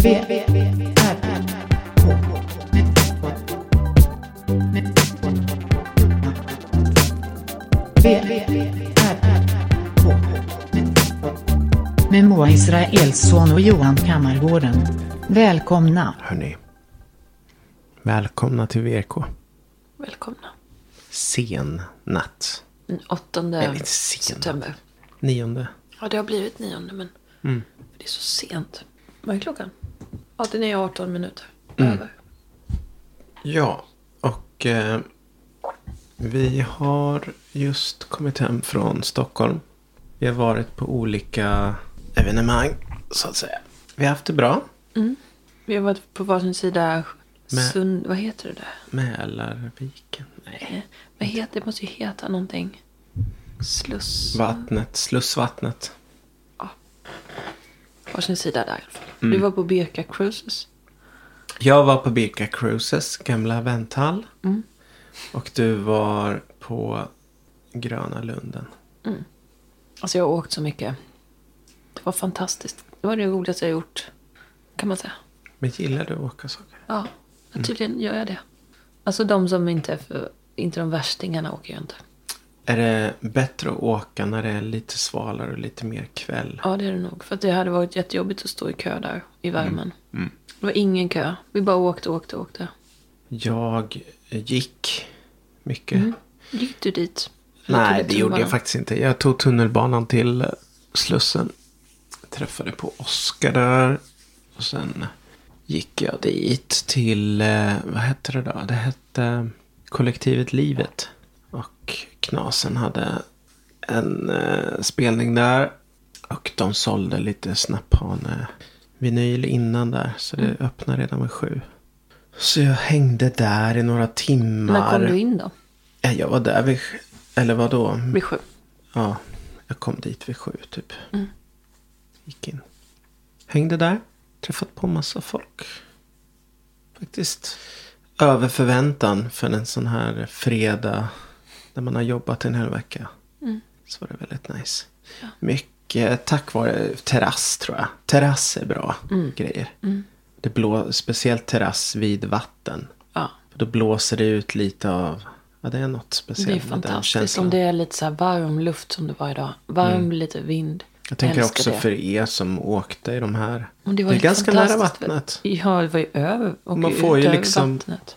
V, R, K. V, R, K. Med Moa Israelsson och Johan Kammargården. Välkomna. Hörni. Välkomna till VK. Välkomna. Sen natt. Den Eller inte 8 sen. september. Nionde. Ja, det har blivit nionde, men det är så sent. Vad är klockan? Ja, den är 18 minuter över. Ja, och eh, vi har just kommit hem från Stockholm. Vi har varit på olika evenemang, så att säga. Vi har haft det bra. Vi har varit på varsin sida Men- Sund... Vad heter det där? Mälarviken? Nej. Eh, Vad heter, det måste ju heta någonting. Sluss... Vattnet, Slussvattnet. Varsin sida där i alla fall. Du var på Birka Cruises. Jag var på Birka Cruises gamla vänthall. Och du var på Gröna Lunden. Alltså jag har åkt så mycket. Det var fantastiskt. Det var det roligaste jag gjort. Kan man säga. Men gillar du att åka saker? Ja, Mm. tydligen gör jag det. Alltså de som inte är för, inte de värstingarna åker ju inte. Är det bättre att åka när det är lite svalare och lite mer kväll? Ja, det är det nog. För att det hade varit jättejobbigt att stå i kö där i Mm. värmen. Det var ingen kö. Vi bara åkte, åkte, åkte. Jag gick mycket. Gick du dit? Eller tog Nej, du det gjorde jag tunnelbanan? faktiskt inte. Jag tog tunnelbanan till Slussen. Träffade på Oskar där. Och sen gick jag dit till, eh, vad hette det då? Det hette Kollektivet Livet. Och Knasen hade en eh, spelning där. Och de sålde lite snapphane-vinyl innan där. Så Mm. det öppnade redan vid sju. Så jag hängde där i några timmar. När kom du in då? Ja, jag var där vid... Eller vad då? Vid sju? Ja, jag kom dit vid sju typ. Mm. Gick in. Hängde där. Träffat på massa folk. Faktiskt över förväntan för en sån här fredag. När man har jobbat en hel vecka. Mm. Så var det väldigt nice. Mycket tack vare terrass tror jag. Terrass är bra Mm. grejer. Det blå, speciellt terrass vid vatten. Ja. För då blåser det ut lite av... Ja, det är något speciellt Det är med den fantastiskt känslan. Mm. om det är lite så här varm luft som det var idag. Varm, lite vind. Jag tänker älskar också det. för er som åkte i de här. Och är helt ganska nära fantastiskt för- vattnet. Ja, det var ju över. Och Man får ju ut över liksom- eh, Vattnet.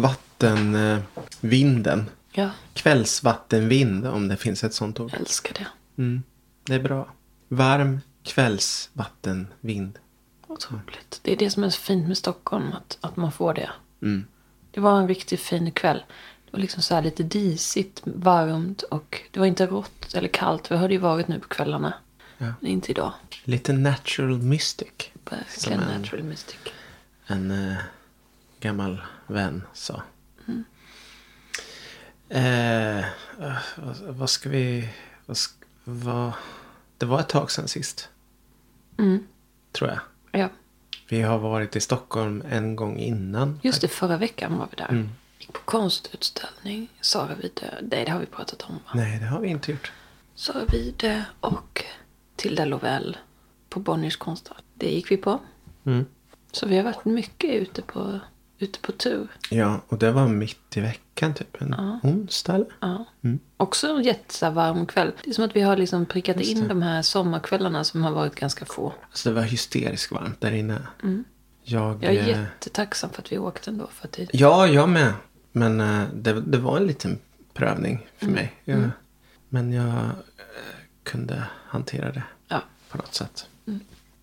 Vattenvinden. Ja, Kvällsvattenvind om det finns ett sånt ord. jag älskar det. Mm. Det är bra. Varm kvällsvattenvind. Otroligt. Det är det som är så fint med Stockholm, att, att man får det. Mm. Det var en riktigt fin kväll. Det var liksom så här lite disigt, varmt och det var inte rått eller kallt. Vi har det ju varit nu på kvällarna. Ja. Men inte idag. Lite natural mystic. Verkligen Som en- natural mystic. En eh, gammal vän sa. Mm. Eh, eh, vad, vad ska vi... Vad, sk- vad, det var ett tag sedan sist. Mm. Tror jag. Ja, Vi har varit i Stockholm en gång innan. just det. Förra veckan var vi där. Mm. Gick på konstutställning. Sara Vide. Nej, det har vi pratat om va? Nej, det har vi inte gjort. Sara Vide och Tilda Lovell på Bonniers konsthall. Det gick vi på. Mm. Så vi har varit mycket ute på, ute på tur. Ja, och det var mitt i veckan typ. En onsdag eller? Ja. Mm. Också en jättevarm kväll. Det är som att vi har liksom prickat in de här sommarkvällarna som har varit ganska få. Alltså det var hysteriskt varmt där inne. Mm. Jag, Jag är eh, jättetacksam för att vi åkte ändå. För att det, ja, jag med. Men eh, det, det var en liten prövning för mig. Jag, Men jag eh, kunde hantera det ja, på något sätt.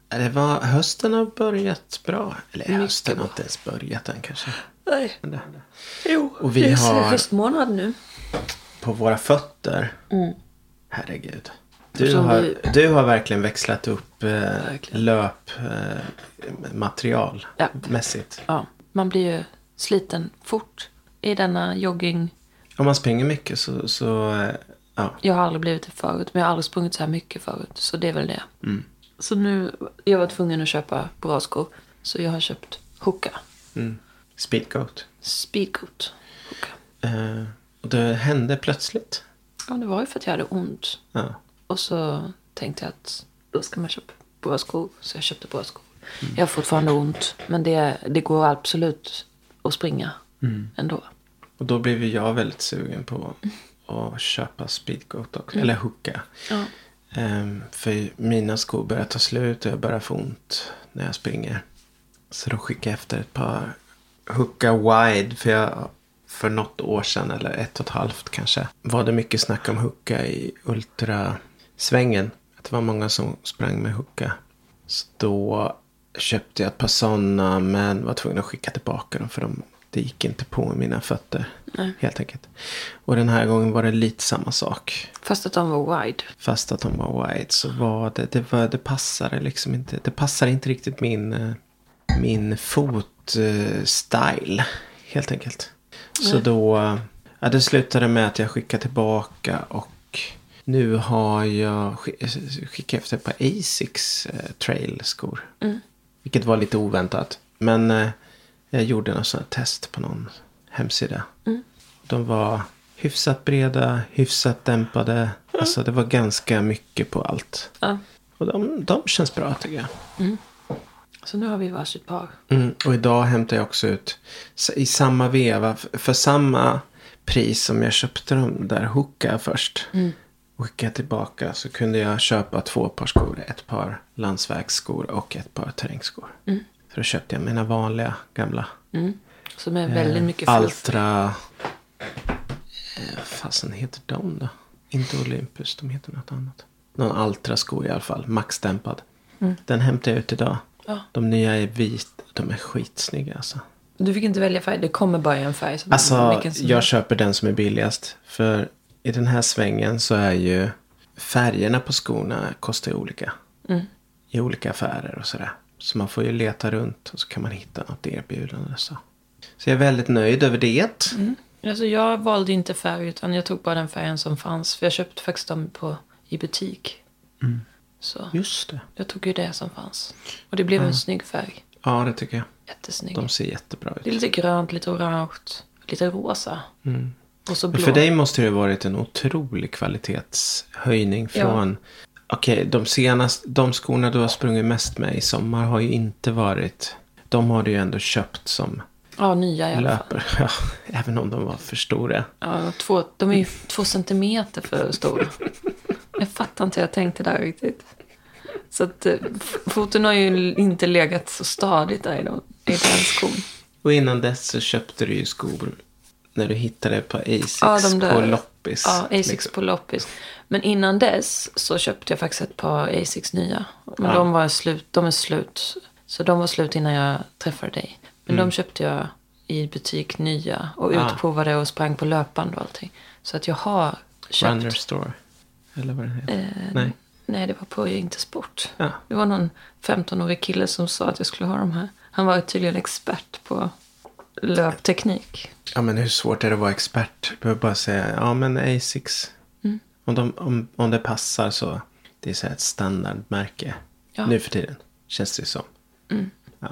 Eh, Det var, hösten har börjat bra. Eller hösten har inte ens börjat än kanske. nej. Men det- Jo, Och vi det är så har- höstmånad nu. på våra fötter. Herregud. Du Eftersom har, Mm. vi- du har verkligen växlat upp eh, Verkligen. löpmaterial eh, Ja. mässigt. Ja, man blir ju sliten fort i denna jogging. Om man springer mycket så, så eh, ja. Jag har aldrig blivit det förut, men jag har aldrig sprungit så här mycket förut. Så det är väl det. Mm. Så nu, jag var tvungen att köpa bra skor. Så jag har köpt Hoka. mm. Speedgoat. Speedcoat Hoka. Eh, och det hände plötsligt. Ja, det var ju för att jag hade ont. Ja. Och så tänkte jag att då ska man köpa bra skor. Så jag köpte bra skor. Mm. Jag har fortfarande ont. Men det, det går absolut att springa Mm. ändå. Och då blev ju jag väldigt sugen på att köpa speedgoat också. Eller hooka. Mm. Ja. Ehm, för mina skor börjar ta slut och jag börjar få ont när jag springer. Så då skickade jag efter ett par hooka wide. För jag, för något år sedan, eller ett och ett halvt kanske, var det mycket snack om hooka i ultrasvängen. Att det var många som sprang med hooka. Så då köpte jag ett par sådana men var tvungen att skicka tillbaka dem för de, det gick inte på mina fötter. Helt enkelt. Och den här gången var det lite samma sak. Fast att de var wide. Fast att de var white så var det, det, var, det passade liksom inte. Det passade inte riktigt min, eh, min fotstil helt enkelt. Så då, eh, ja, det slutade med att jag skickade tillbaka och nu har jag sk- eh, skickat efter ett par Asics eh, trail-skor. Vilket var lite oväntat. Men eh, jag gjorde något sånt här test på någon hemsida. De var hyfsat breda, hyfsat dämpade. Alltså det var ganska mycket på allt. Ja. Och de, de känns bra tycker jag. Så nu har vi varsitt par. Mm. Och idag hämtar jag också ut s- i samma veva f- för samma pris som jag köpte de där hooka först. Och skickade tillbaka så kunde jag köpa två par skor. Ett par landsvägsskor och ett par terrängskor. Så då köpte jag mina vanliga gamla. Som är väldigt mycket fullt. Eh, Altra... Eh, vad fasen heter de då? Inte Olympus, de heter något annat. Någon Altra-sko i alla fall, maxdämpad. Den hämtade jag ut idag. Mm. Ja. De nya är vit, de är skitsnygga alltså. Du fick inte välja färg. Det kommer bara en färg. Så Alltså, vilken som jag helst. köper den som är billigast. För i den här svängen så är ju färgerna på skorna kostar ju olika. Mm. I olika affärer och sådär. Så man får ju leta runt och så kan man hitta något erbjudande. Så, så jag är väldigt nöjd över det. Alltså jag valde inte färg utan jag tog bara den färgen som fanns. För jag köpte faktiskt dem på, i butik. Mm. Så Just det. jag tog ju det som fanns. Och det blev en snygg färg. Ja, det tycker jag. Jättesnygg. De ser jättebra ut. Mm. Det är liksom lite grönt, lite orange, lite rosa. Och så Mm. Men blå. För dig måste det ha varit en otrolig kvalitetshöjning från... Okej, de senaste... De skorna du har sprungit mest med i sommar har ju inte varit... De har du ju ändå köpt som Ja, nya i alla fall. löper. Ja, även om de var för stora. Ja, två, de är ju två centimeter för stora. Jag fattar inte hur jag tänkte där riktigt. Så att eh, f- foten har ju inte legat så stadigt där i, de, i den skon. Och innan dess så köpte du ju skor när du hittade ett par Asics Ja, de där. på loppis. Ja, Asics liksom. på loppis. Men innan dess så köpte jag faktiskt ett par Asics nya. Men de var slut, de är slut. Så de var slut innan jag träffade dig. Men Mm. de köpte jag i butik nya och Ah. utprovade och sprang på löpband och allting. Så att jag har köpt. Eh, Runner Store. Eller vad det heter. Nej. Nej, det var på Inte Sport. Ja. Det var någon 15-årig kille som sa att jag skulle ha de här. Han var tydligen expert på löpteknik. Ja men hur svårt är det att vara expert? Du behöver bara säga ja men Asics. Mm. Om, de, om, om det passar så. Det är så här ett standardmärke. Ja. Nu för tiden. Känns det som. Ja.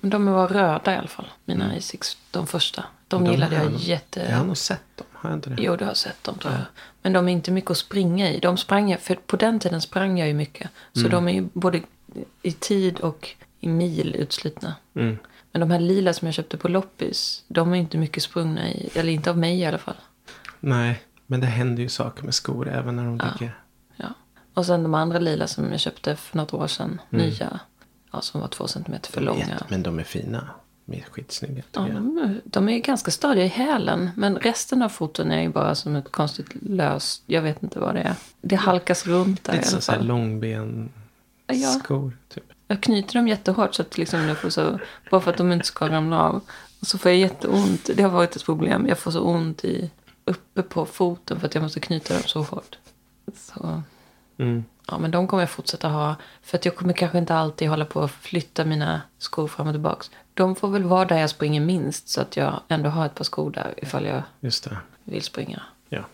Men de var röda i alla fall, mina Asics, de första. De, Mm. De gillade har jag nog- jätte... Jag har nog sett dem. Har jag inte det? Jo, du har sett dem tror jag. Men de är inte mycket att springa i. De sprang jag, för på den tiden sprang jag ju mycket. Så Mm. de är ju både i tid och i mil utslitna. Mm. Men de här lila som jag köpte på loppis, de är inte mycket sprungna i. Eller inte av mig i alla fall. Nej. Men det händer ju saker med skor även när de ligger. Ja. Och sen de andra lila som jag köpte för något år sedan. Nya. Ja, som var två centimeter för långa. Jätte- Men Mm. de är fina. De är skitsnygga. Ja, tycker jag. de, är- de är ganska stadiga i hälen. Men resten av foten är ju bara som ett konstigt löst... Jag vet inte vad det är. Det halkas runt där Lite i som alla så här fall. långben Ja. skor. Typ. Jag knyter dem jättehårt så att liksom jag får så... Bara för att de inte ska ramla av. Och så får jag jätteont. Det har varit ett problem. Jag får så ont i... Uppe på foten för att jag måste knyta dem så hårt. Så... Mm. Ja, men de kommer jag fortsätta ha. För att jag kommer kanske inte alltid hålla på och flytta mina skor fram och tillbaka. De får väl vara där jag springer minst så att jag ändå har ett par skor där ifall jag Just det. vill springa. Ja.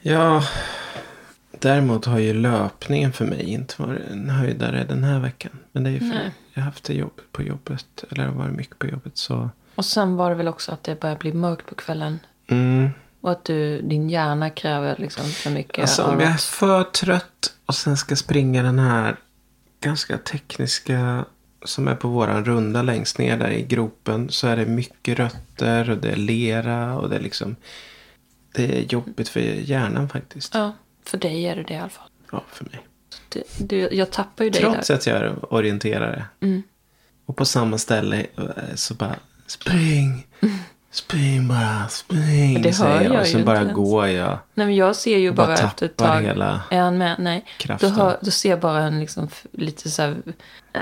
Ja. Däremot har ju löpningen för mig inte varit en höjdare den här veckan. Men det är ju för Nej. jag har haft det jobb på jobbet. Eller det har varit mycket på jobbet så. Och sen var det väl också att det börjar bli mörkt på kvällen. Mm. Och att du, din hjärna kräver liksom för mycket. Alltså om av- jag är för trött och sen ska springa den här ganska tekniska som är på våran runda längst ner där i gropen så är det mycket rötter och det är lera och det är liksom det är jobbigt för hjärnan faktiskt. Ja, för dig är det det i alla fall. Ja, för mig. Du, du, jag tappar ju dig Trots där. Mm. att jag är orienterare. Och på samma ställe eh, så bara spring, spring bara, spring. Det hör säger jag Och ju sen bara inte ens. går jag. Nej, men jag ser ju bara bara, efter ett tappar tag. hela är han med? Nej. Då, kraften. hör, då ser jag bara en liksom, f- lite så här, eh,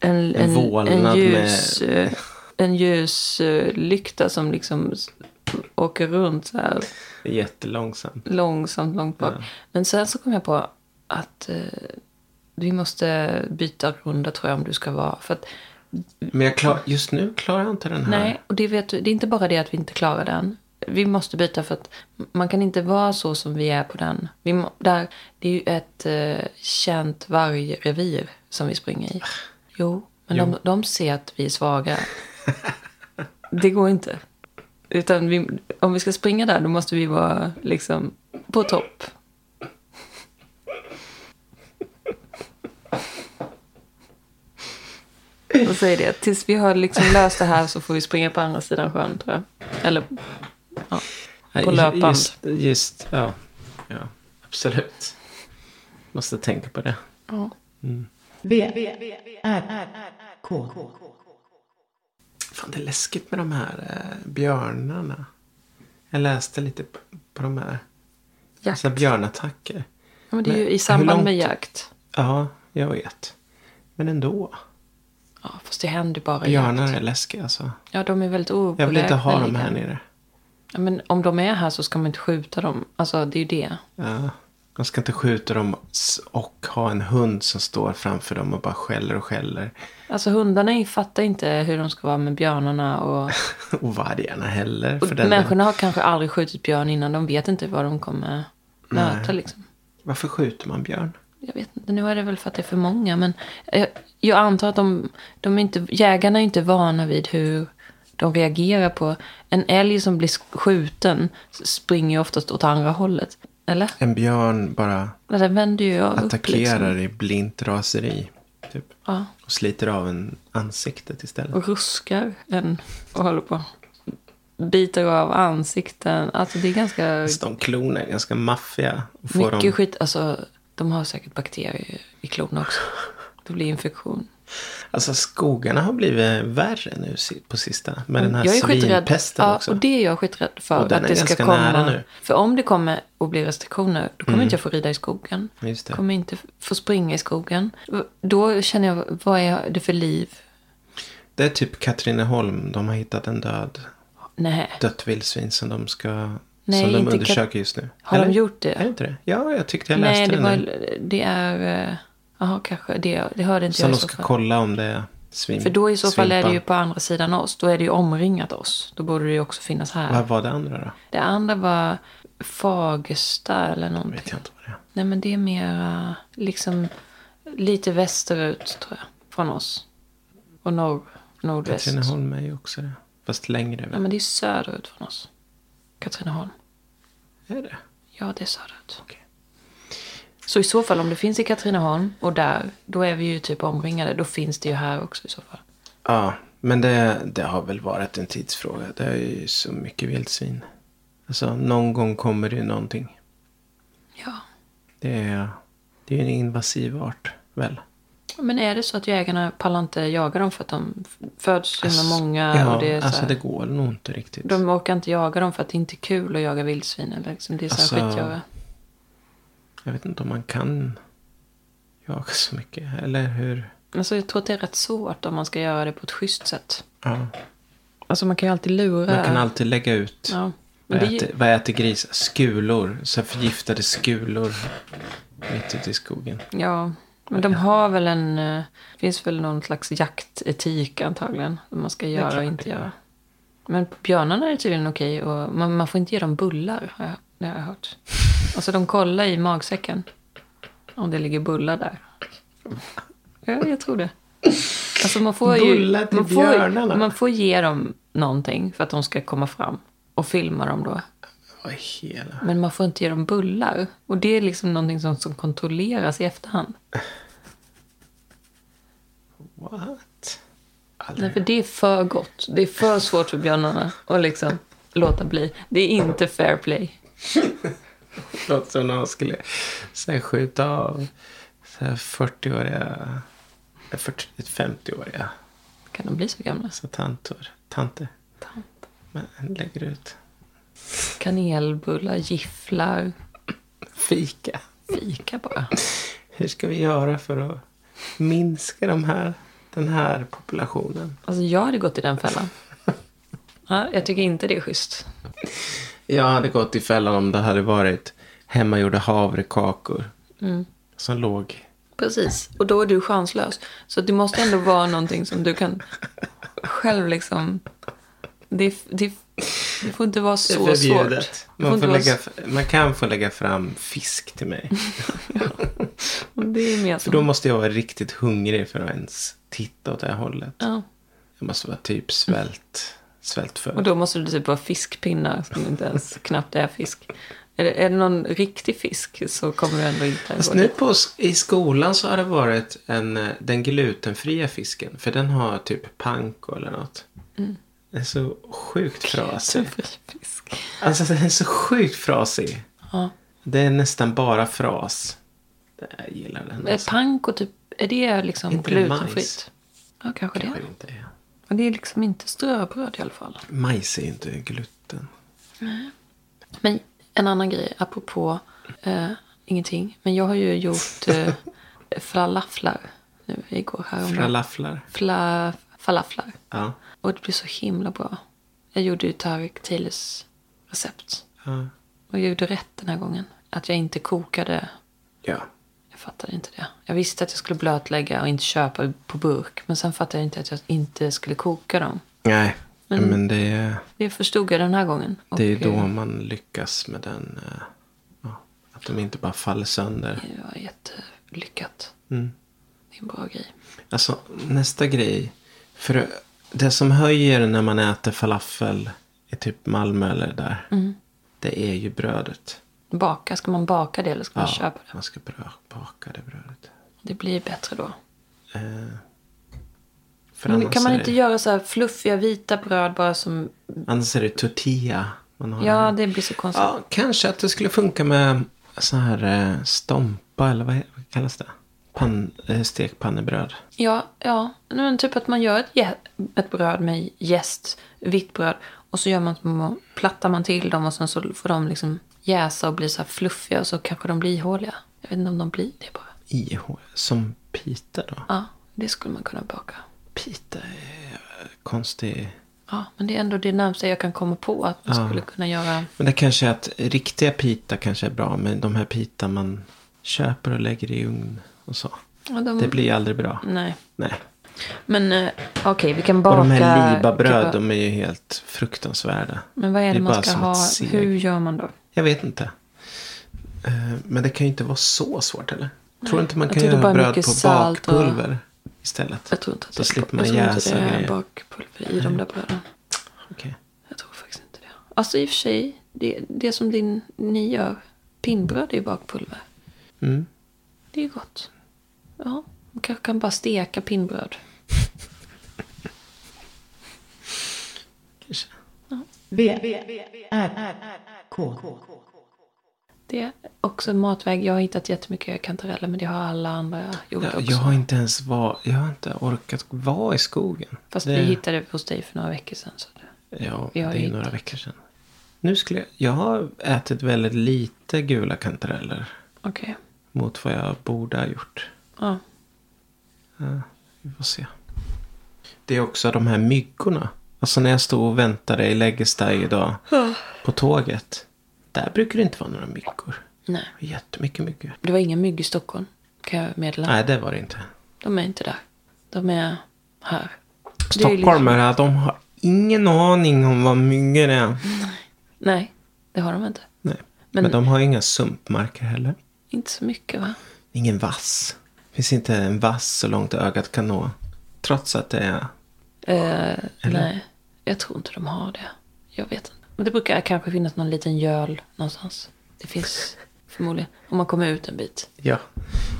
en, en, en vålnad ljus, med- eh, en ljus eh, lykta som liksom s- åker runt så här Jättelångsamt. långsamt, långt bak. Men sen så kom jag på att eh, vi måste byta runda tror jag om du ska vara. För att, Men jag klar, just nu klarar jag inte den här. nej, och det vet du, det är inte bara det att vi inte klarar den. Vi måste byta för att man kan inte vara så som vi är på den. Vi, må- där, det är ju ett eh, känt vargrevir som vi springer i. Jo, men De, de ser att vi är svaga. Det går inte. Utan vi, om vi ska springa där då måste vi vara liksom på topp. Vad säger det? Tills vi har liksom löst det här så får vi springa på andra sidan sjön tror jag. Eller ja, Nej, på ju- löpband. Just, just ja. ja. Absolut. Måste tänka på det. V, R, K. Fan, det är läskigt med de här eh, björnarna. Jag läste lite på, på de här. Jakt. Alltså björnattacker. Ja, men det är ju Men i hur samband med långt- jakt. Ja, jag vet. Men ändå. Ja, fast det händer bara i jakt. Björnar är läskiga alltså. Ja, de är väldigt Jag opopulära. vill inte ha dem här nere. Ja, men om de är här så ska man inte skjuta dem. Alltså, det är ju det. Ja. Man ska inte skjuta dem s- och ha en hund som står framför dem och bara skäller och skäller. Alltså hundarna fattar inte hur de ska vara med björnarna och, Och vargarna heller. och För den delen. människorna har kanske aldrig skjutit björn innan. De vet inte vad de kommer möta liksom. Varför skjuter man björn? Jag vet inte, nu är det väl för att det är för många. Men jag, jag antar att de, de är inte, jägarna är inte vana vid hur de reagerar på. En älg som blir sk- skjuten springer ju oftast åt andra hållet. Eller? En björn bara Men Den vänder ju upp liksom. attackerar i blint raseri. Typ. Ja. Och sliter av en ansiktet istället. och ruskar en och håller på. Biter av ansikten. Alltså det är ganska Så de klorna är ganska maffiga. Och får mycket dem, skit. Alltså de har säkert bakterier i klorna också. Det blir infektion. Alltså skogarna har blivit värre nu si- på sista. Med den här jag är skiträdd. svinpesten ja, också. och det är jag skiträdd för. Och den att är det ska ganska komma. nära nu. Mm. För om det kommer att bli restriktioner. Då kommer inte jag få rida i skogen. Just det. Kommer inte få springa i skogen. Då känner jag, vad är det för liv? Det är typ Katrineholm. De har hittat en död Nej. dött vildsvin som de ska... Nej, som de inte Kat- undersöker just nu. Har de gjort det? Är det inte det? Ja, jag tyckte jag läste Nej, det, det, nu. var, det är... eh, Jaha, kanske. Det, det hörde inte Som jag de i så ska fall. kolla om det är svin. För då i så fall är det ju svinpan. på andra sidan oss. Då är det ju omringat oss. Då borde det ju också finnas här. Vad var det andra då? Det andra var Fagersta eller någonting. Vet jag inte vad det är. Nej men det är mera liksom lite västerut tror jag. Från oss. Och norr, nordväst. Katrineholm är ju också det. Fast längre Ja väl? men det är söderut från oss. Katrineholm. Mm. Är det? Ja det är söderut. Så i så fall om det finns i Katrineholm och där. Då är vi ju typ omringade. Då finns det ju här också i så fall. Ja, men det, det har väl varit en tidsfråga. Det är ju så mycket vildsvin. Alltså, någon gång kommer det ju någonting. Ja. Det är, det är ju en invasiv art, väl? Men är det så att jägarna pallar inte jaga dem för att de f- föds himla många? ja, och det är så alltså här, det går nog inte riktigt. De orkar inte jaga dem för att det inte är kul att jaga vildsvin. Eller liksom, det är så här Alltså- skitgöra. Jag vet inte om man kan jaga så mycket. Eller hur? Alltså, jag tror att det är rätt svårt om man ska göra det på ett schysst sätt. Ja. Alltså man kan ju alltid lura. Man kan alltid lägga ut. Eh. Ja. Men Vad, det är ju, äter, vad äter gris? Skulor. Så här förgiftade skulor. Mitt ute i skogen. ja. Men de har väl en... eh, Det finns väl någon slags jaktetik antagligen. Vad man ska göra och klart inte det gör. göra. Men på björnarna är det tydligen okej. Och man, man får inte ge dem bullar, har jag, det har jag hört. Alltså de kollar i magsäcken. Om det ligger bullar där. Ja, jag tror det. Alltså man får ju... Bullar till man, får, björnarna. man får ge dem någonting för att de ska komma fram. Och filma dem då. Vad i hela... Men man får inte ge dem bullar. Och det är liksom någonting som, som kontrolleras i efterhand. What? Nej, för det är för gott. Det är för svårt för björnarna att liksom låta bli. Det är inte fair play. Låter som när han skulle så här, skjuta av så här 40-åriga, eh, 40 50-åriga Kan de bli så gamla? så tantor, tanter. Men lägger ut Kanelbullar, gifflar, fika. fika bara. Hur ska vi göra för att minska de här, den här populationen? Alltså jag hade gått i den fällan. Ja, jag tycker inte det är schysst. Jag hade gått i fällan om det hade varit hemmagjorda havrekakor. Mm. Som låg. Precis, och då är du chanslös. Så det måste ändå vara någonting som du kan själv liksom... Det, det, det får inte vara så Det är förbjudet. svårt. Det får Man, inte får vara lägga, man kan få lägga fram fisk till mig. så- Det är mer För då som... måste jag vara riktigt hungrig för att ens titta åt det här hållet. Ja. Jag måste vara typ svält, Och svältfödd. då måste det typ vara fiskpinnar som inte ens knappt är fisk. Är det, är det någon riktig fisk så kommer du ändå inte Fast gå nu dit. på, s- i skolan så har det varit en, eh, den glutenfria fisken. För den har typ panko eller något. Den är så sjukt Mm. Så frasig. fri fisk. Alltså den är så sjukt frasig. Ja. Det är nästan bara fras. Det- Jag gillar den. Är Alltså. panko typ, är det liksom Inte glutenfritt? majs. Ja, kanske det. Jag vet inte. Men det är liksom inte ströbröd i alla fall. Majs är ju inte gluten. Men en annan grej, apropå eh, ingenting. Men jag har ju gjort eh, falaflar nu igår häromdagen. Falaflar. Fla, falaflar. Ja. Och det blev så himla bra. Jag gjorde ju Tarek Taylors recept. Ja. Och jag gjorde rätt den här gången. Att jag inte kokade. ja. Jag fattade inte det. Jag visste att jag skulle blötlägga och inte köpa på burk. Men sen fattade jag inte att jag inte skulle koka dem. Nej. Men- Men, det, är, Det förstod jag den här gången. det är Och, då eh, man lyckas med den. eh, Ja, att de inte bara faller sönder. Det var jättelyckat. Mm. Det är en bra grej. Alltså nästa grej. För det som höjer när man äter falafel i typ Malmö eller där. Mm. Det är ju brödet. Baka, ska man baka det eller ska man köpa det? man ska brö- baka det brödet. Det blir bättre då. Eh, för Men annars kan man är inte det, göra så här fluffiga vita bröd bara som... Annars är det tortilla. Man har Ja, det. det blir så konstigt. ja, kanske att det skulle funka med eh, så här eh, stompa eller vad, he- vad kallas det? Pan, eh, stekpannebröd. Ja, ja. Nej, Men typ att man gör ett, jä- ett bröd med jäst, vitt bröd. Och så gör man små, plattar man till dem och sen så får de liksom jäsa och bli så här fluffiga och så kanske de blir ihåliga. Jag vet inte om de blir det bara. IH. Som pita då. Ja, det skulle man kunna baka. Pita är eh, konstig. Ja, men det är ändå det närmsta jag kan komma på att man skulle kunna göra. Men det kanske är att riktiga pita kanske är bra. Men de här pita man köper och lägger i ugn och så. Ja, de... Det blir ju aldrig bra. Nej. Nej. Men eh, okej, vi kan baka... Och de här kan libabröd, ba- de är ju helt fruktansvärda. Men vad är det, bara man ska som ett ha? seg. Hur gör man då? Jag vet inte. Eh, Men det kan ju inte vara så svårt eller? Tror du inte man Jag kan tror det göra bara är bröd mycket på salt och- bakpulver istället? Jag tror inte att Då det, slipper jag man tror inte jäsa det är grejer. bakpulver i de där bröden. Okej. Jag tror faktiskt inte det. Alltså i och för sig, det, det som din, ni gör, pinnbröd är ju bakpulver. Mm. Det är ju gott. Ja, man kanske kan bara steka pinnbröd. Kanske. V, R, K, Det är också en matväg. Jag har hittat jättemycket kantareller, men det har alla andra gjort Jag, också. jag har inte ens var, jag har inte orkat vara i skogen. Fast det, vi hittade hos dig för några veckor sedan. Så det... Ja, vi har det ju är några hittat. veckor sedan. Nu skulle jag, jag har ätit väldigt lite gula kantareller. Okej. Mot vad jag borde ha gjort. Ja. Vi får se. Det är också de här myggorna. Alltså när jag stod och väntade i Läggesta idag på tåget. Där brukar det inte vara några myggor. Nej. Jättemycket myggor. Det var inga mygg i Stockholm, kan jag meddela. Nej, det var det inte. De är inte där. De är här. Det är ju liksom- Stockholmare, de har ingen aning om vad myggor är. Nej, det har de inte. Nej. Men- Men, de har inga sumpmarker heller. Inte så mycket va? Ingen vass. finns inte en vass så långt ögat kan nå. Trots att det är... Eh, nej, jag tror inte de har det. Jag vet inte. Men det brukar kanske finnas någon liten göl någonstans. Det finns förmodligen. Om man kommer ut en bit. Ja.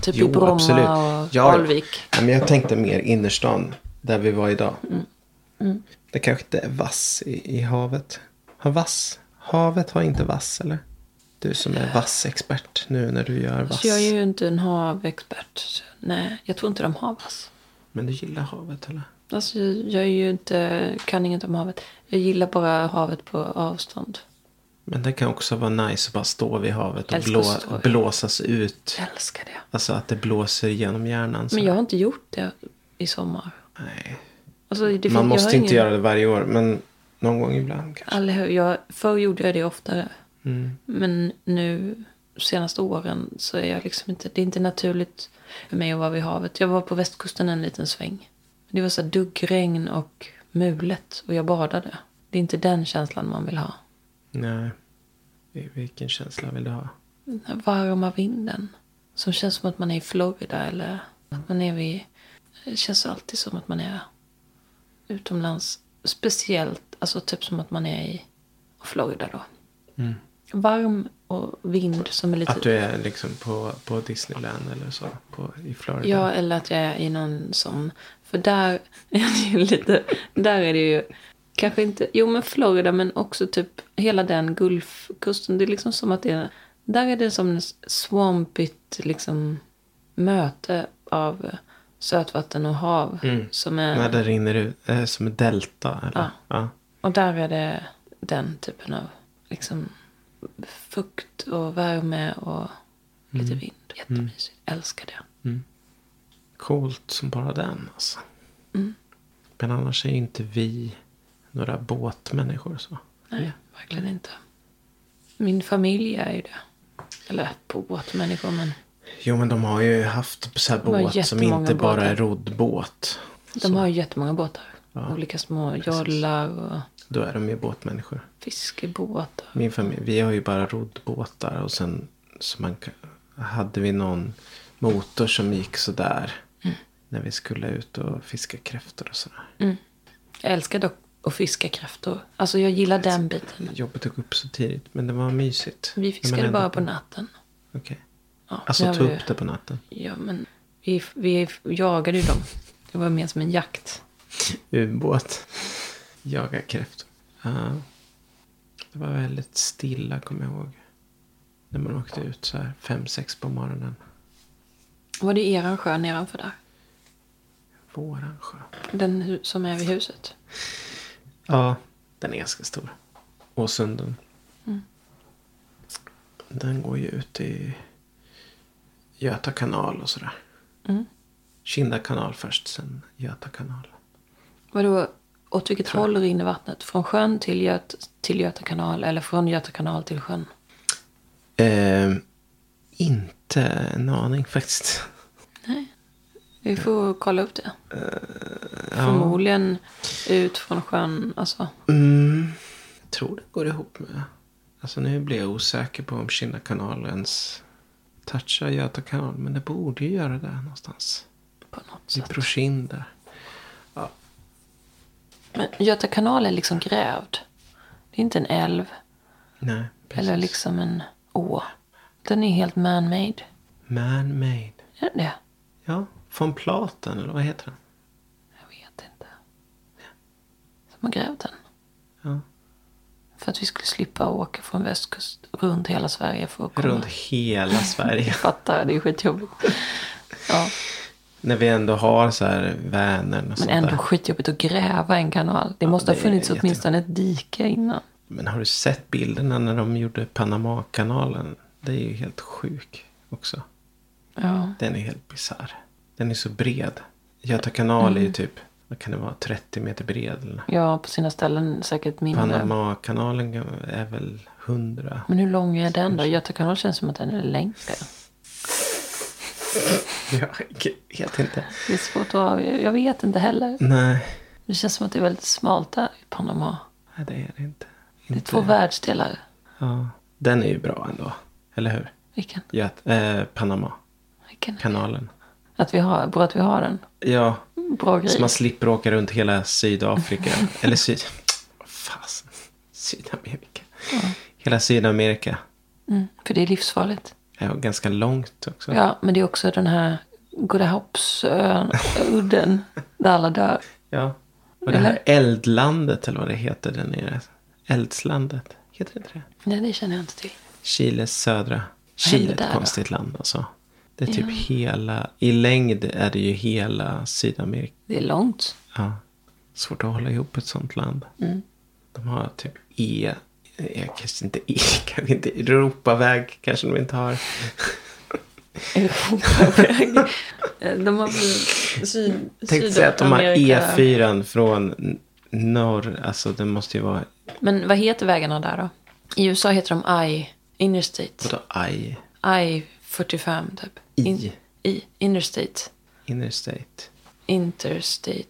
Typ i Jo, Bromma absolut. och Ja, Alvik. Ja, men jag tänkte mer innerstan. Där vi var idag. Mm. Det kanske inte är vass i, i havet. Har vass? Havet har inte vass eller? Du som är vassexpert nu när du gör vass. Så Alltså, jag är ju inte en havexpert. så Nej, jag tror inte de har vass. Men du gillar havet eller? Alltså, jag är ju inte, kan inget om havet. Jag gillar bara havet på avstånd. Men det kan också vara nice att bara stå vid havet och Älskar blå, att stå vid- blåsas ut. Jag älskar det. Alltså att det blåser genom hjärnan. Så. Men jag har inte gjort det i sommar. Nej. Alltså, det fin- jag Man måste har inte ingen- göra det varje år, men någon gång ibland kanske. Eller hur? Jag, förr gjorde jag det oftare. Mm. Men nu, senaste åren, så är jag liksom inte... Det är inte naturligt för mig att vara vid havet. Jag var på västkusten en liten sväng. Det var så här duggregn och mulet och jag badade. Det är inte den känslan man vill ha. Nej. Vil- Vilken känsla vill du ha? Den här varma vinden. Som känns som att man är i Florida eller att man är vid... Det känns alltid som att man är utomlands. Speciellt, alltså typ som att man är i Florida då. Varm och vind som är lite... Mm. Att du är liksom på, på Disneyland eller så? På, I Florida? Ja, eller att jag är i någon sån. För där är det ju lite... Där är det ju... Kanske inte... Jo, men Florida, men också typ hela den Gulfkusten. Det är liksom som att det är... Där är det som en swampigt liksom möte av sötvatten och hav. Som är, När det rinner ut, eh, som ett delta? Eller? Ja. Och där är det den typen av liksom fukt och värme och lite vind. Jättemysigt. Älskar det. Coolt som bara den alltså. Mm. Men annars är ju inte vi några båtmänniskor så. Nej, verkligen inte. Min familj är ju det. Eller båtmänniskor, men Jo men de har ju haft så här har båt som jättemånga inte bara båtar. är roddbåt. de har ju jättemånga båtar. Olika små jollar och Då är de ju båtmänniskor. fiskebåtar. Min familj, vi har ju bara roddbåtar och sen så man, kan- hade vi någon motor som gick sådär. Mm. När vi skulle ut och fiska kräftor och sådär. Jag älskar dock att fiska kräftor. Alltså jag gillar den biten. Jobbet tog upp så tidigt men det var mysigt. Vi När fiskade man bara ändå- på natten. Okej. Ja, nu Alltså har ta vi- upp det på natten. Ja, men vi, vi jagade ju dem. Det var mer som en jakt. Ubåt. Jaga kräftor. Ja. Det var väldigt stilla kommer jag ihåg. När man åkte ut så här fem, sex på morgonen. Var det eran sjö nedanför där? Våran sjö. Den hu- som är vid huset? Ja, den är ganska stor. Åsunden. Mm. Den går ju ut i Göta kanal och sådär. Mm. Kinda kanal först, sen Göta kanal. Vadå, åt vilket håll rinner vattnet? Från sjön till, Göt, till Göta kanal eller från Göta kanal till sjön? Eh, inte en aning faktiskt. Vi Mm. får kolla upp det. Förmodligen ut från sjön. Alltså, Mm. Jag tror det går ihop med... Alltså nu blir jag osäker på om Kinda kanal ens touchar Göta kanal. Men det borde ju göra det någonstans. på något I sätt. Brokinn där. Men Göta kanal är liksom grävd. Det är inte en älv Nej, eller liksom en å. Den är helt man-made. Man-made. Är den det? Ja, von Platen eller vad heter den? Jag vet inte. Som har grävt den. Ja. För att vi skulle slippa åka från västkust runt hela Sverige för att komma. Runt hela Sverige. Fattar, det är skitjobbigt. Ja. När vi ändå har så här Vänern och Men sånt ändå där. skitjobbigt att gräva en kanal. Det måste det ha är funnits jätte- åtminstone ett dike innan. Men har du sett bilderna när de gjorde Panamakanalen? Det är ju helt sjuk också. Ja. Den är helt bisarr. Den är så bred. Göta kanal Mm. är ju typ, vad kan det vara, 30 meter bred? Eller? ja, på sina ställen säkert mindre. Panamakanalen är väl 100? Men hur lång är den då? Göta kanal känns som att den är längre. Jag vet inte. Det är svårt att avgöra. Jag vet inte heller. Nej, Det känns som att det är väldigt smalt där i Panama. nej, det är det inte. Det är Inte- två världsdelar. ja. Den är ju bra ändå, eller hur? Vilken? Göt- eh, Panama. Vilken? kanalen. Att vi har, bra att vi har den. Ja, Bra så grej. man slipper åka runt hela Sydafrika. eller Syd... Fasen. Sydamerika. Hela Sydamerika. Mm, för det är livsfarligt. Ja, och ganska långt också. Ja, men det är också den här Godahoppsudden. där alla dör. Ja. Och det här eldlandet eller vad det heter där nere. Eldslandet. Heter det inte det? Nej, det känner jag inte till. Chiles södra. händer Chile är där ett då? konstigt land alltså. Det är typ hela, i längd är det ju hela Sydamerika. Det är långt. Ja. Svårt att hålla ihop ett sånt land. Mm. De har typ E, e kanske inte E, kanske inte Europaväg kanske de inte har. Europaväg. de har väl syd, Tänk sig att de har Sydamerika. E4 från n- norr, alltså det måste ju vara, Men vad heter vägarna där då? I USA heter de I, Interstate. vadå I, I 45 typ. I. I, Interstate. interstate, Interstate.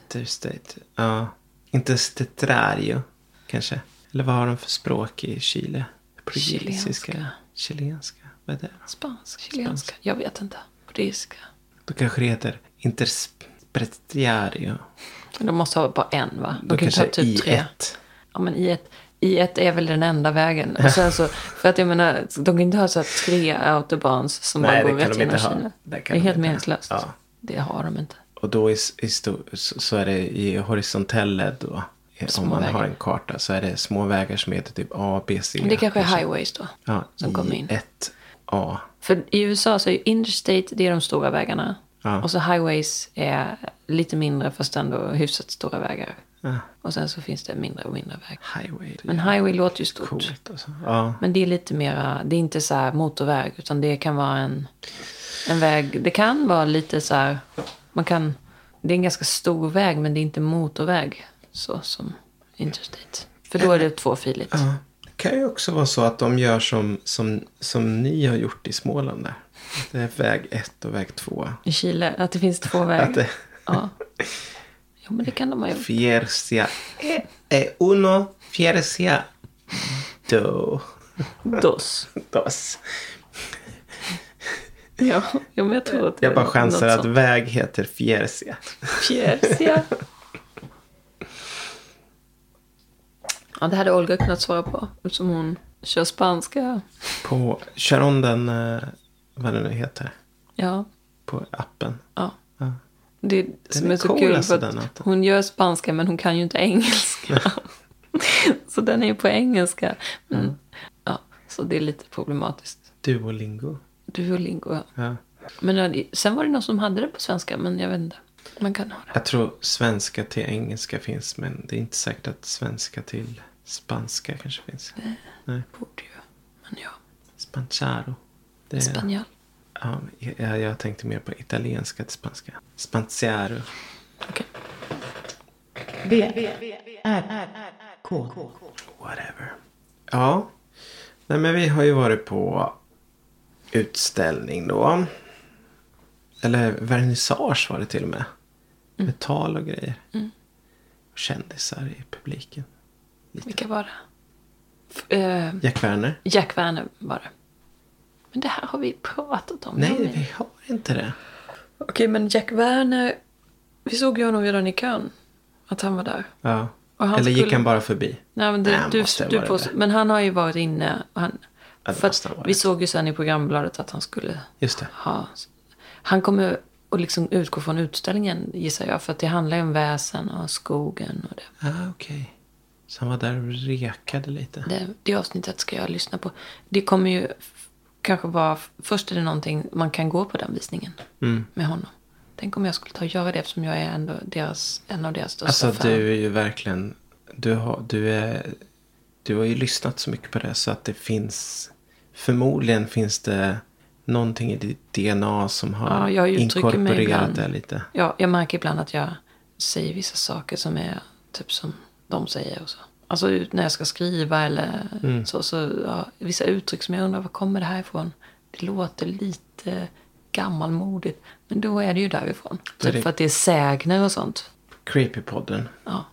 interstate, ja, interstetrario kanske. Eller vad har de för språk i Chile? Portugisiska? Chilenska. Chilenska? Vad är det? Spansk, chilenska. Jag vet inte. Portugisiska. Då kanske det heter interspretiario. De måste ha bara en va? De Då kan ju ta kanske typ tre. I1. Ja men i ett, i ett är väl den enda vägen. Och sen så, för att jag menar, de kan ju inte ha så här tre autobans som Nej, bara det går kan rätt de genom inte ha. Kina. Det Det, kan är de helt inte ha. meningslöst. Ja. Det har de inte. Och då i, s- i sto, så så är det i horisontell led då. eh, Små om man har vägar. en karta så är det små vägar som heter typ A, B, C. Men det kanske är highways då. ja, som kommer in. 1 A. För i USA så är ju interstate, det är de stora vägarna. Ja. Och så highways är lite mindre fast ändå hyfsat stora vägar. Ja, Och sen så finns det mindre och mindre vägar. highway. typ Men highway låter ju stort. Coolt alltså. Ja. Men det är lite mera, det är inte så här motorväg utan det kan vara en, en väg. Det kan vara lite så här, man kan, det är en ganska stor väg men det är inte motorväg. Så som interstate. För då är det tvåfiligt. ja. Det kan ju också vara så att de gör som, som, som ni har gjort i Småland där. Det är väg 1 och väg 2. I Chile, att det finns två Att vägar. det Ja. Jo men det kan de ha gjort. Fiercia. Eh, eh, uno, fiercia. Do. Dos. Dos. Ja, jo, men jag tror att det Jag bara är chansar något att sånt. väg heter fiercia. Fjärs, ja. ja, det hade Olga kunnat svara på eftersom hon kör spanska. På, kör hon den, eh, vad det nu heter, Ja, på appen? ja. Ja. Det är, som är är, så cool, kul alltså, för den att appen. hon gör spanska men hon kan ju inte engelska. så den är ju på engelska. Men, Mm. ja, så det är lite problematiskt. Duolingo. Duolingo, ja. Ja. Men ja, det- sen var det någon som hade det på svenska, men jag vet inte. Man kan ha det. Jag tror svenska till engelska finns, men det är inte säkert att svenska till spanska kanske finns. Nej. Borde ju. Men ja, Spancharo. Det är, spanjol. ja, jag, jag tänkte mer på italienska till spanska. Spanziaro. Okej. B, R, R, K. Whatever. Ja. Nej men vi har ju varit på utställning då. Eller vernissage var det till och med. Mm. Med tal och grejer. Och kändisar i publiken. Vilka var det? F- eh, Jack Werner? Jack Werner var det. Men det här har vi pratat om. Nej, har vi? vi har inte det. Okej, men Jack Werner. Vi såg ju honom redan i kön. Att han var där. Ja. Och han Eller gick skulle- han bara förbi? Nej, men, Nej, det, han du, måste ha du varit påstår- men han har ju varit inne. Och han, Ja, det för måste att, ha varit. vi såg ju sen i programbladet att han skulle Just det. ha... Han kommer att liksom utgå från utställningen gissar jag. För att det handlar ju om väsen och skogen och det. Ah, okej. Så han var där och rekade lite. Det, det avsnittet ska jag lyssna på. Det kommer ju f- kanske vara... Först är det någonting man kan gå på den visningen Mm. med honom. Tänk om jag skulle ta och göra det eftersom jag är ändå deras, en av deras största Alltså fan. du är ju verkligen... Du har, du, är, du har ju lyssnat så mycket på det så att det finns... Förmodligen finns det någonting i ditt DNA som har Ja, jag uttrycker mig inkorporerat ibland. det lite. Ja, jag märker ibland att jag säger vissa saker som är typ som de säger och så. Alltså ut när jag ska skriva eller Mm. så. så ja, vissa uttryck som jag undrar, var kommer det här ifrån? Det låter lite gammalmodigt. Men då är det ju därifrån. Då är Typ det- för att det är sägner och sånt. Creepypodden Ja,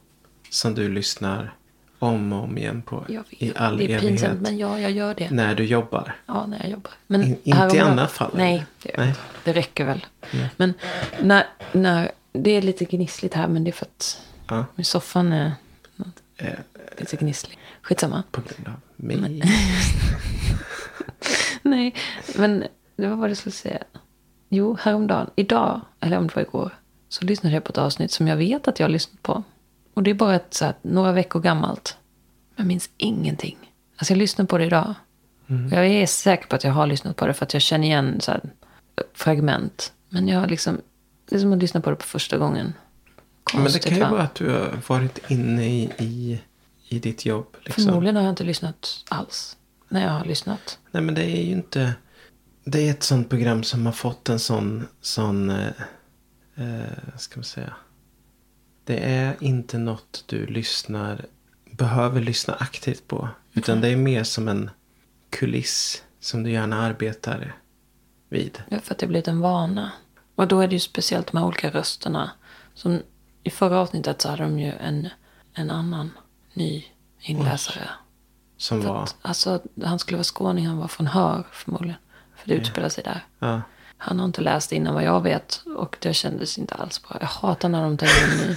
som du lyssnar om och om igen på jag vet. i all det är evighet. pinsamt, men ja, jag gör det. När du jobbar. Ja, när jag jobbar. Men In- inte i häromdagen- andra fall, eller? Nej, det, gör jag Nej. inte. det räcker väl. Men när, när, det är lite gnissligt här, men det är för att Ja. min soffan är Eh, lite gnisslig. Skitsamma. på grund av mig. Nej, men det var vad jag skulle säga. Jo, häromdagen, idag, eller om det var igår, så lyssnade jag på ett avsnitt som jag vet att jag har lyssnat på. Och det är bara ett, så här, några veckor gammalt. Jag minns ingenting. Alltså jag lyssnade på det idag. Mm. Och jag är säker på att jag har lyssnat på det för att jag känner igen så här, fragment. Men jag har liksom, det är som att lyssna på det på första gången. Men det Konstigt kan ju va? vara att du har varit inne i, i, i ditt jobb. Liksom. Förmodligen har jag inte lyssnat alls. När jag har lyssnat. Nej men det är ju inte. Det är ett sånt program som har fått en sån. sån eh, eh, ska man säga. Det är inte något du lyssnar. Behöver lyssna aktivt på. Utan Mm. det är mer som en kuliss. Som du gärna arbetar vid. Det är för att det har blivit en vana. Och då är det ju speciellt de här olika rösterna. Som i förra avsnittet så hade de ju en, en annan ny inläsare. Som var. Alltså han skulle vara skåning, han var från Hör förmodligen. För det utspelar sig där. Ja. Han har inte läst innan vad jag vet. Och det kändes inte alls bra. Jag hatar när de tar in en ny.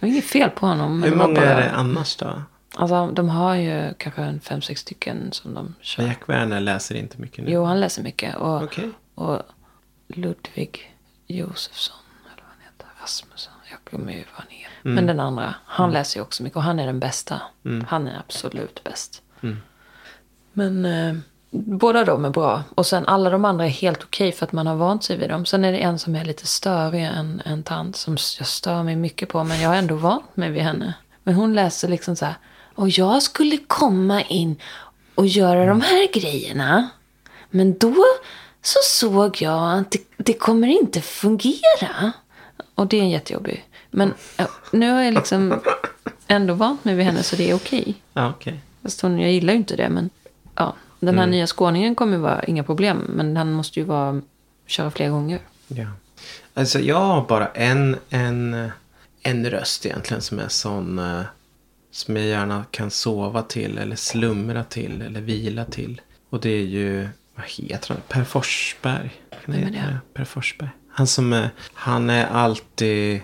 Det är inget fel på honom. Men Hur det var många är bara- det annars då? Alltså de har ju kanske en fem, sex stycken som de kör. Men Jack Werner läser inte mycket nu. Jo, han läser mycket. Och, Okej. och Ludvig Josefsson, eller vad han heter, Rasmusson. Jag glömmer ju vad han är. Mm. Men den andra, han läser ju också mycket. Och han är den bästa. Han är absolut bäst. Men eh, båda de är bra. Och sen alla de andra är helt okej för att man har vant sig vid dem. Sen är det en som är lite störig, en, en tant som s- jag stör mig mycket på. Men jag har ändå vant mig vid henne. Men hon läser liksom så här. Och jag skulle komma in och göra de här grejerna. Men då så såg jag att det, det kommer inte fungera. Och det är en jättejobbig. Men ja, nu har jag liksom ändå vant mig vid henne så det är okej. Ja, okej. Fast hon, jag gillar ju inte det, men ja. Den Mm. här nya skåningen kommer ju vara inga problem, men han måste ju vara, köra fler gånger. Ja. Alltså jag har bara en, en, en röst egentligen som är sån eh, som jag gärna kan sova till eller slumra till eller vila till. Och det är ju, vad heter han? Per Forsberg. Kan det Vem är heta det? det? Per Forsberg. Han som är, han är alltid,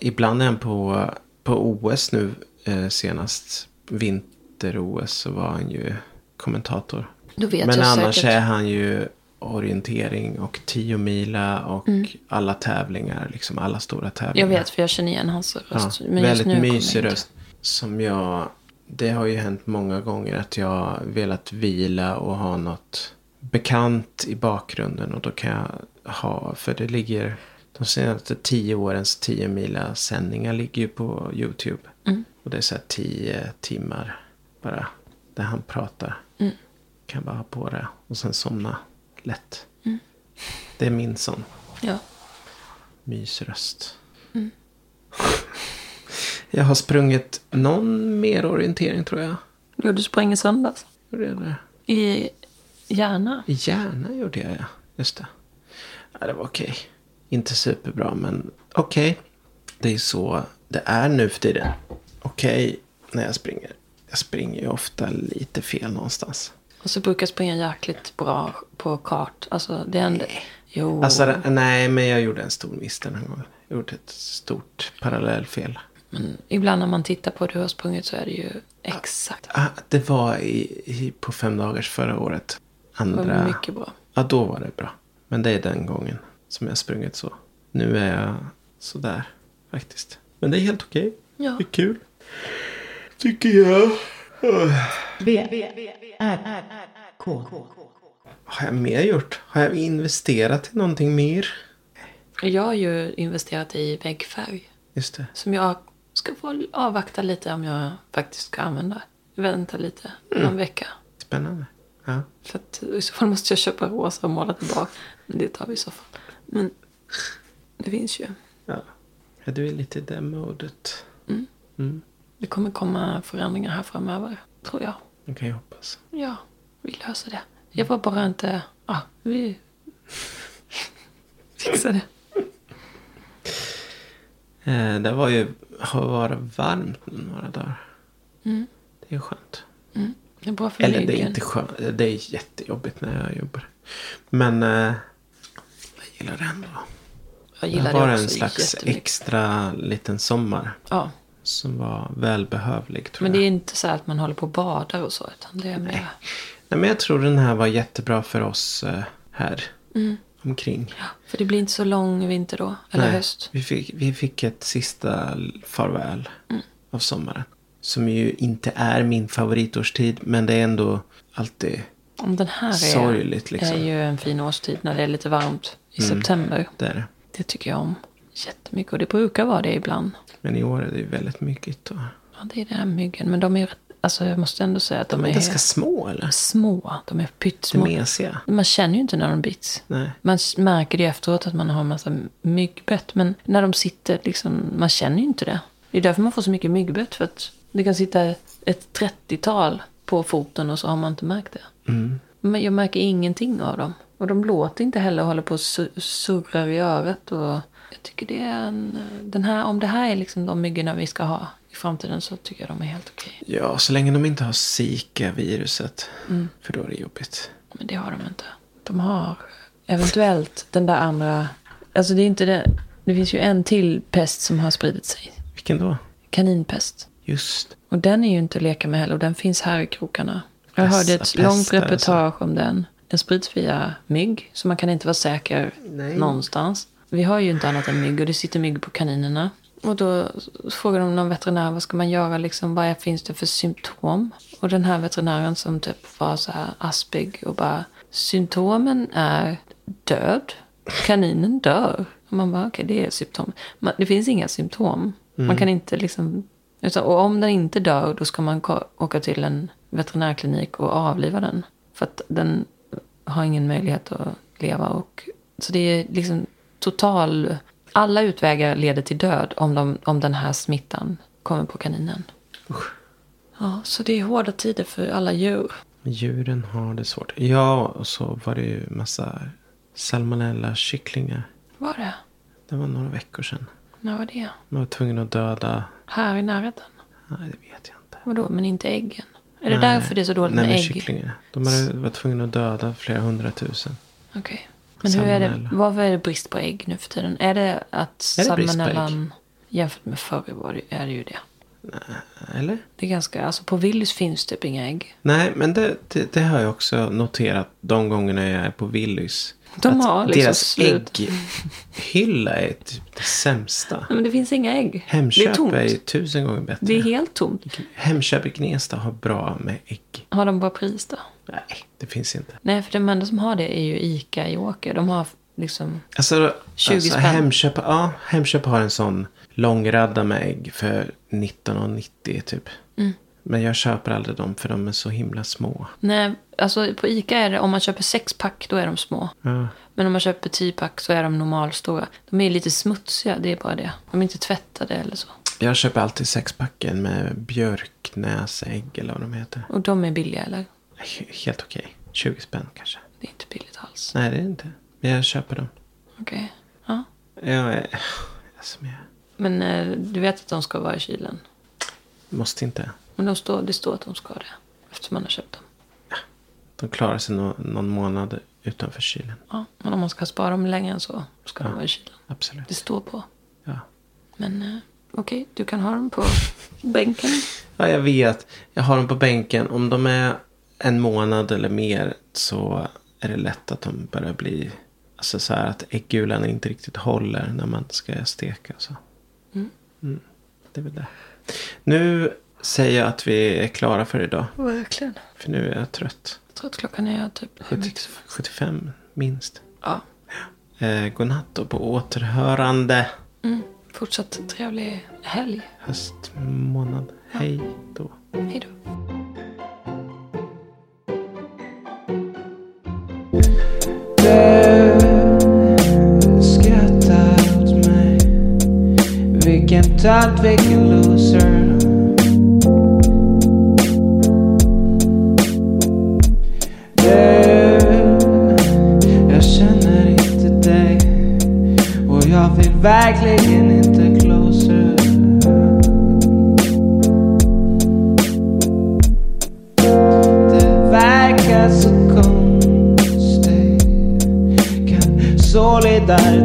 ibland är han på, på OS nu eh, senast. Vinter-OS så var han ju kommentator. Då vet Men jag annars säkert. är han ju orientering och tiomila och alla tävlingar. Liksom alla stora Mm. Jag tävlingar. vet, för jag känner igen hans röst. Ja, men just nu väldigt kommer jag mysig inte. röst. Som jag... Det har ju hänt många gånger att jag velat vila och ha något bekant i bakgrunden. Och då kan jag ha... För det ligger... De senaste tio årens tio mila sändningar ligger ju på YouTube. Mm. Och det är så här tio timmar bara. Där han pratar. Mm. Kan bara ha på det. Och sen somna lätt. Mm. Det är min sån Ja. mysröst. jag har sprungit någon mer orientering tror jag. Jo, du sprang i söndags. Gjorde jag det? I Järna. I Järna gjorde jag ja. Just det. Ja, det var okej. Inte superbra men okej. Det är så det är nu för tiden. Okej när jag springer. Jag springer ju ofta lite fel någonstans. Och så brukar jag springa jäkligt bra på kart. Alltså, det hände. Jo. Alltså det- nej men jag gjorde en stor miss den här gången. Jag gjorde ett stort parallellfel. men ibland när man tittar på hur du har sprungit så är det ju exakt. Ah, det var i, i, på fem dagars förra året. Det Andra... var mycket bra. Ja, då var det bra. Men det är den gången som jag sprungit så. Nu är jag sådär faktiskt. Men det är helt okej. Ja. Det är kul. Tycker jag. Öh. V, R, R, K. Har jag mer gjort? Har jag investerat i någonting mer? Jag har ju investerat i väggfärg. Just det. Som jag ska få avvakta lite om jag faktiskt ska använda. Vänta lite, Mm. någon vecka. Spännande. Ja. För att i så fall måste jag köpa rosa och måla tillbaka. Men det tar vi i så fall. Men det finns ju. ja. Ja, Du är lite i det modet. Det kommer komma förändringar här framöver, tror jag. Det kan jag hoppas. Ja, vi löser det. Jag var bara inte... Ja, vi fixar det. Eh, det var ju, har varit varmt några dagar. Mm. Det är skönt. Det är bra för Eller det är ryggen. inte skönt. Det är jättejobbigt när jag jobbar. Men eh, jag gillar det ändå. Jag Det gillar var det en också slags jättemycket. extra liten sommar. Ja, Som var välbehövlig tror men det är jag. inte så här att man håller på och badar och så. Utan det är mer... Nej, men jag tror den här var jättebra för oss eh, här. omkring. För det blir inte så lång vinter då. Mm. Eller Nej, höst. Vi fick, vi fick ett sista farväl Mm. av sommaren. Som ju inte är min favoritårstid, men det är ändå alltid... Om den här är, Sorgligt, liksom. Mm. är ju en fin årstid när det är lite varmt i september. Där. Det tycker jag om jättemycket. Och det brukar vara det ibland. Men i år är det ju väldigt mycket. Och... Ja, det är den här myggen. Men de är, alltså jag måste ändå säga att de, De är är ganska små, eller? små. De är Lite pyttesmå. mesiga. Man känner ju inte när de bits. Nej. Man s- märker ju efteråt att man har en massa myggbett. Men när de sitter, liksom, man känner ju inte det. Det är därför man får så mycket myggbett. För att det kan sitta ett 30-tal på foten och så har man inte märkt det. Men jag märker ingenting av dem. Och de låter inte heller och håller på och su- surrar i örat. Och jag tycker det är en, den här, om det här är liksom de myggorna vi ska ha i framtiden så tycker jag de är helt okej. Ja, så länge de inte har Zika-viruset. Mm. För då är det jobbigt. Men det har de inte. De har eventuellt den där andra. Alltså det är inte det. Det finns ju en till pest som har spridit sig. Vilken då? Kaninpest. Just. Och den är ju inte att leka med heller. Och den finns här i krokarna. Jag Pest- hörde ett pest alltså. långt är det så. reportage om den. Den sprids via mygg. Så man kan inte vara säker Nej. någonstans. Vi har ju inte annat än mygg. Och det sitter mygg på kaninerna. Och då frågar de någon veterinär vad ska man göra, liksom, vad är, finns det för symptom? Och den här veterinären som typ var så här aspig och bara, symptomen är död, kaninen dör. Och man bara, okej det är symptom. Man, det finns inga symptom. Mm. Man kan inte liksom, utan, och om den inte dör då ska man ko- åka till en veterinärklinik och avliva den. För att den har ingen möjlighet att leva. Och, så det är liksom total... Alla utvägar leder till död om, de, om den här smittan kommer på kaninen. Ja, så det är hårda tider för alla djur. Djuren har det svårt. Ja, och så var det ju massa salmonella-kycklingar. Var det? Det var några veckor sedan. När var det? Man var tvungen att döda... Här i närheten? Nej, det vet jag inte. Vadå, men inte äggen? Är det Nej. därför det är så dåligt Nej, med men ägg? kycklingarna. De hade, var tvungna att döda flera hundratusen. Okej. Men hur är det, Salmonella. varför är det brist på ägg nu för tiden? Är det att Är det brist på salmonellan jämfört med förr var det, är det ju det. Eller? Det är ganska, alltså på Willys finns typ inga ägg. Nej, men det, det, det har jag också noterat de gångerna jag är på Willys. De Att har liksom Deras slut. ägghylla är typ det sämsta. Nej, men det finns inga ägg. det är Hemköp tomt. är, ju tusen gånger bättre. Det är helt tomt. Hemköp i Gnesta har bra med ägg. Har de bra pris då? Nej, det finns inte. Nej, för de enda som har det är ju ICA i Åker. De har liksom... Alltså, 20 alltså spänn. Hemköp, ja, Hemköp har en sån lång radda med ägg för 19,90 typ. Mm. Men jag köper aldrig dem för de är så himla små. Nej, alltså på ICA är det om man köper sex pack då är de små. Ja. Men om man köper tio pack så är de normalstora. De är lite smutsiga, det är bara det. De är inte tvättade eller så. Jag köper alltid sexpacken med björknäsägg eller vad de heter. Och de är billiga eller? He- Helt okej. 20 spänn kanske. Det är inte billigt alls. Nej, det är det inte. Men jag köper dem. Okej. Ja. Jag, är- alltså, men Men eh, du vet att de ska vara i kylen. jag måste inte. Men de står, det står att de ska det. Eftersom man har köpt dem. De klarar sig nå- någon månad utanför kylen. Ja. Men om man ska spara dem längre än så ska de vara i kylen. Absolut. Det står på. Ja. Men eh, okej, du kan ha dem på bänken. ja, jag vet. Jag har dem på bänken. Om de är en månad eller mer så är det lätt att de börjar bli... Alltså så här att äggulan inte riktigt håller när man ska steka. och Så. Mm. Det är väl det. Nu säger jag att vi är klara för idag. Verkligen. För nu är jag trött. Jag tror att klockan är typ... 70, 75 minst. Ja. Eh, godnatt och på återhörande Mm. Fortsatt trevlig helg. höstmånad. Hej då. Hej då. skratta åt mig. Vilken tant, vilken loser. Du, jag känner inte dig. Och jag vill verkligen inte closer. Det verkar så konstigt kan solidaritet